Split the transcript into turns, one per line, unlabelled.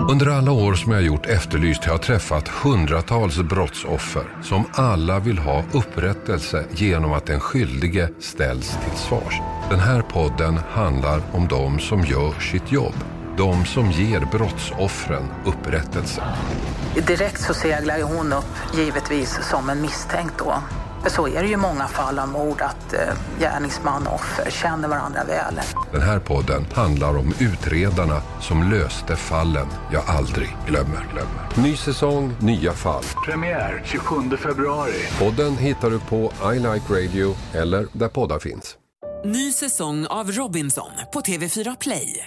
Under alla år som jag gjort Efterlyst har jag träffat hundratals brottsoffer som alla vill ha upprättelse genom att den skyldige ställs till svars. Den här podden handlar om de som gör sitt jobb. De som ger brottsoffren upprättelse.
Direkt så seglar ju hon upp, givetvis, som en misstänkt då. För så är det ju i många fall av mord, att eh, gärningsman och offer känner varandra väl.
Den här podden handlar om utredarna som löste fallen jag aldrig glömmer. glömmer. Ny säsong, nya fall.
Premiär 27 februari.
Podden hittar du på I Like Radio eller där poddar finns.
Ny säsong av Robinson på TV4 Play.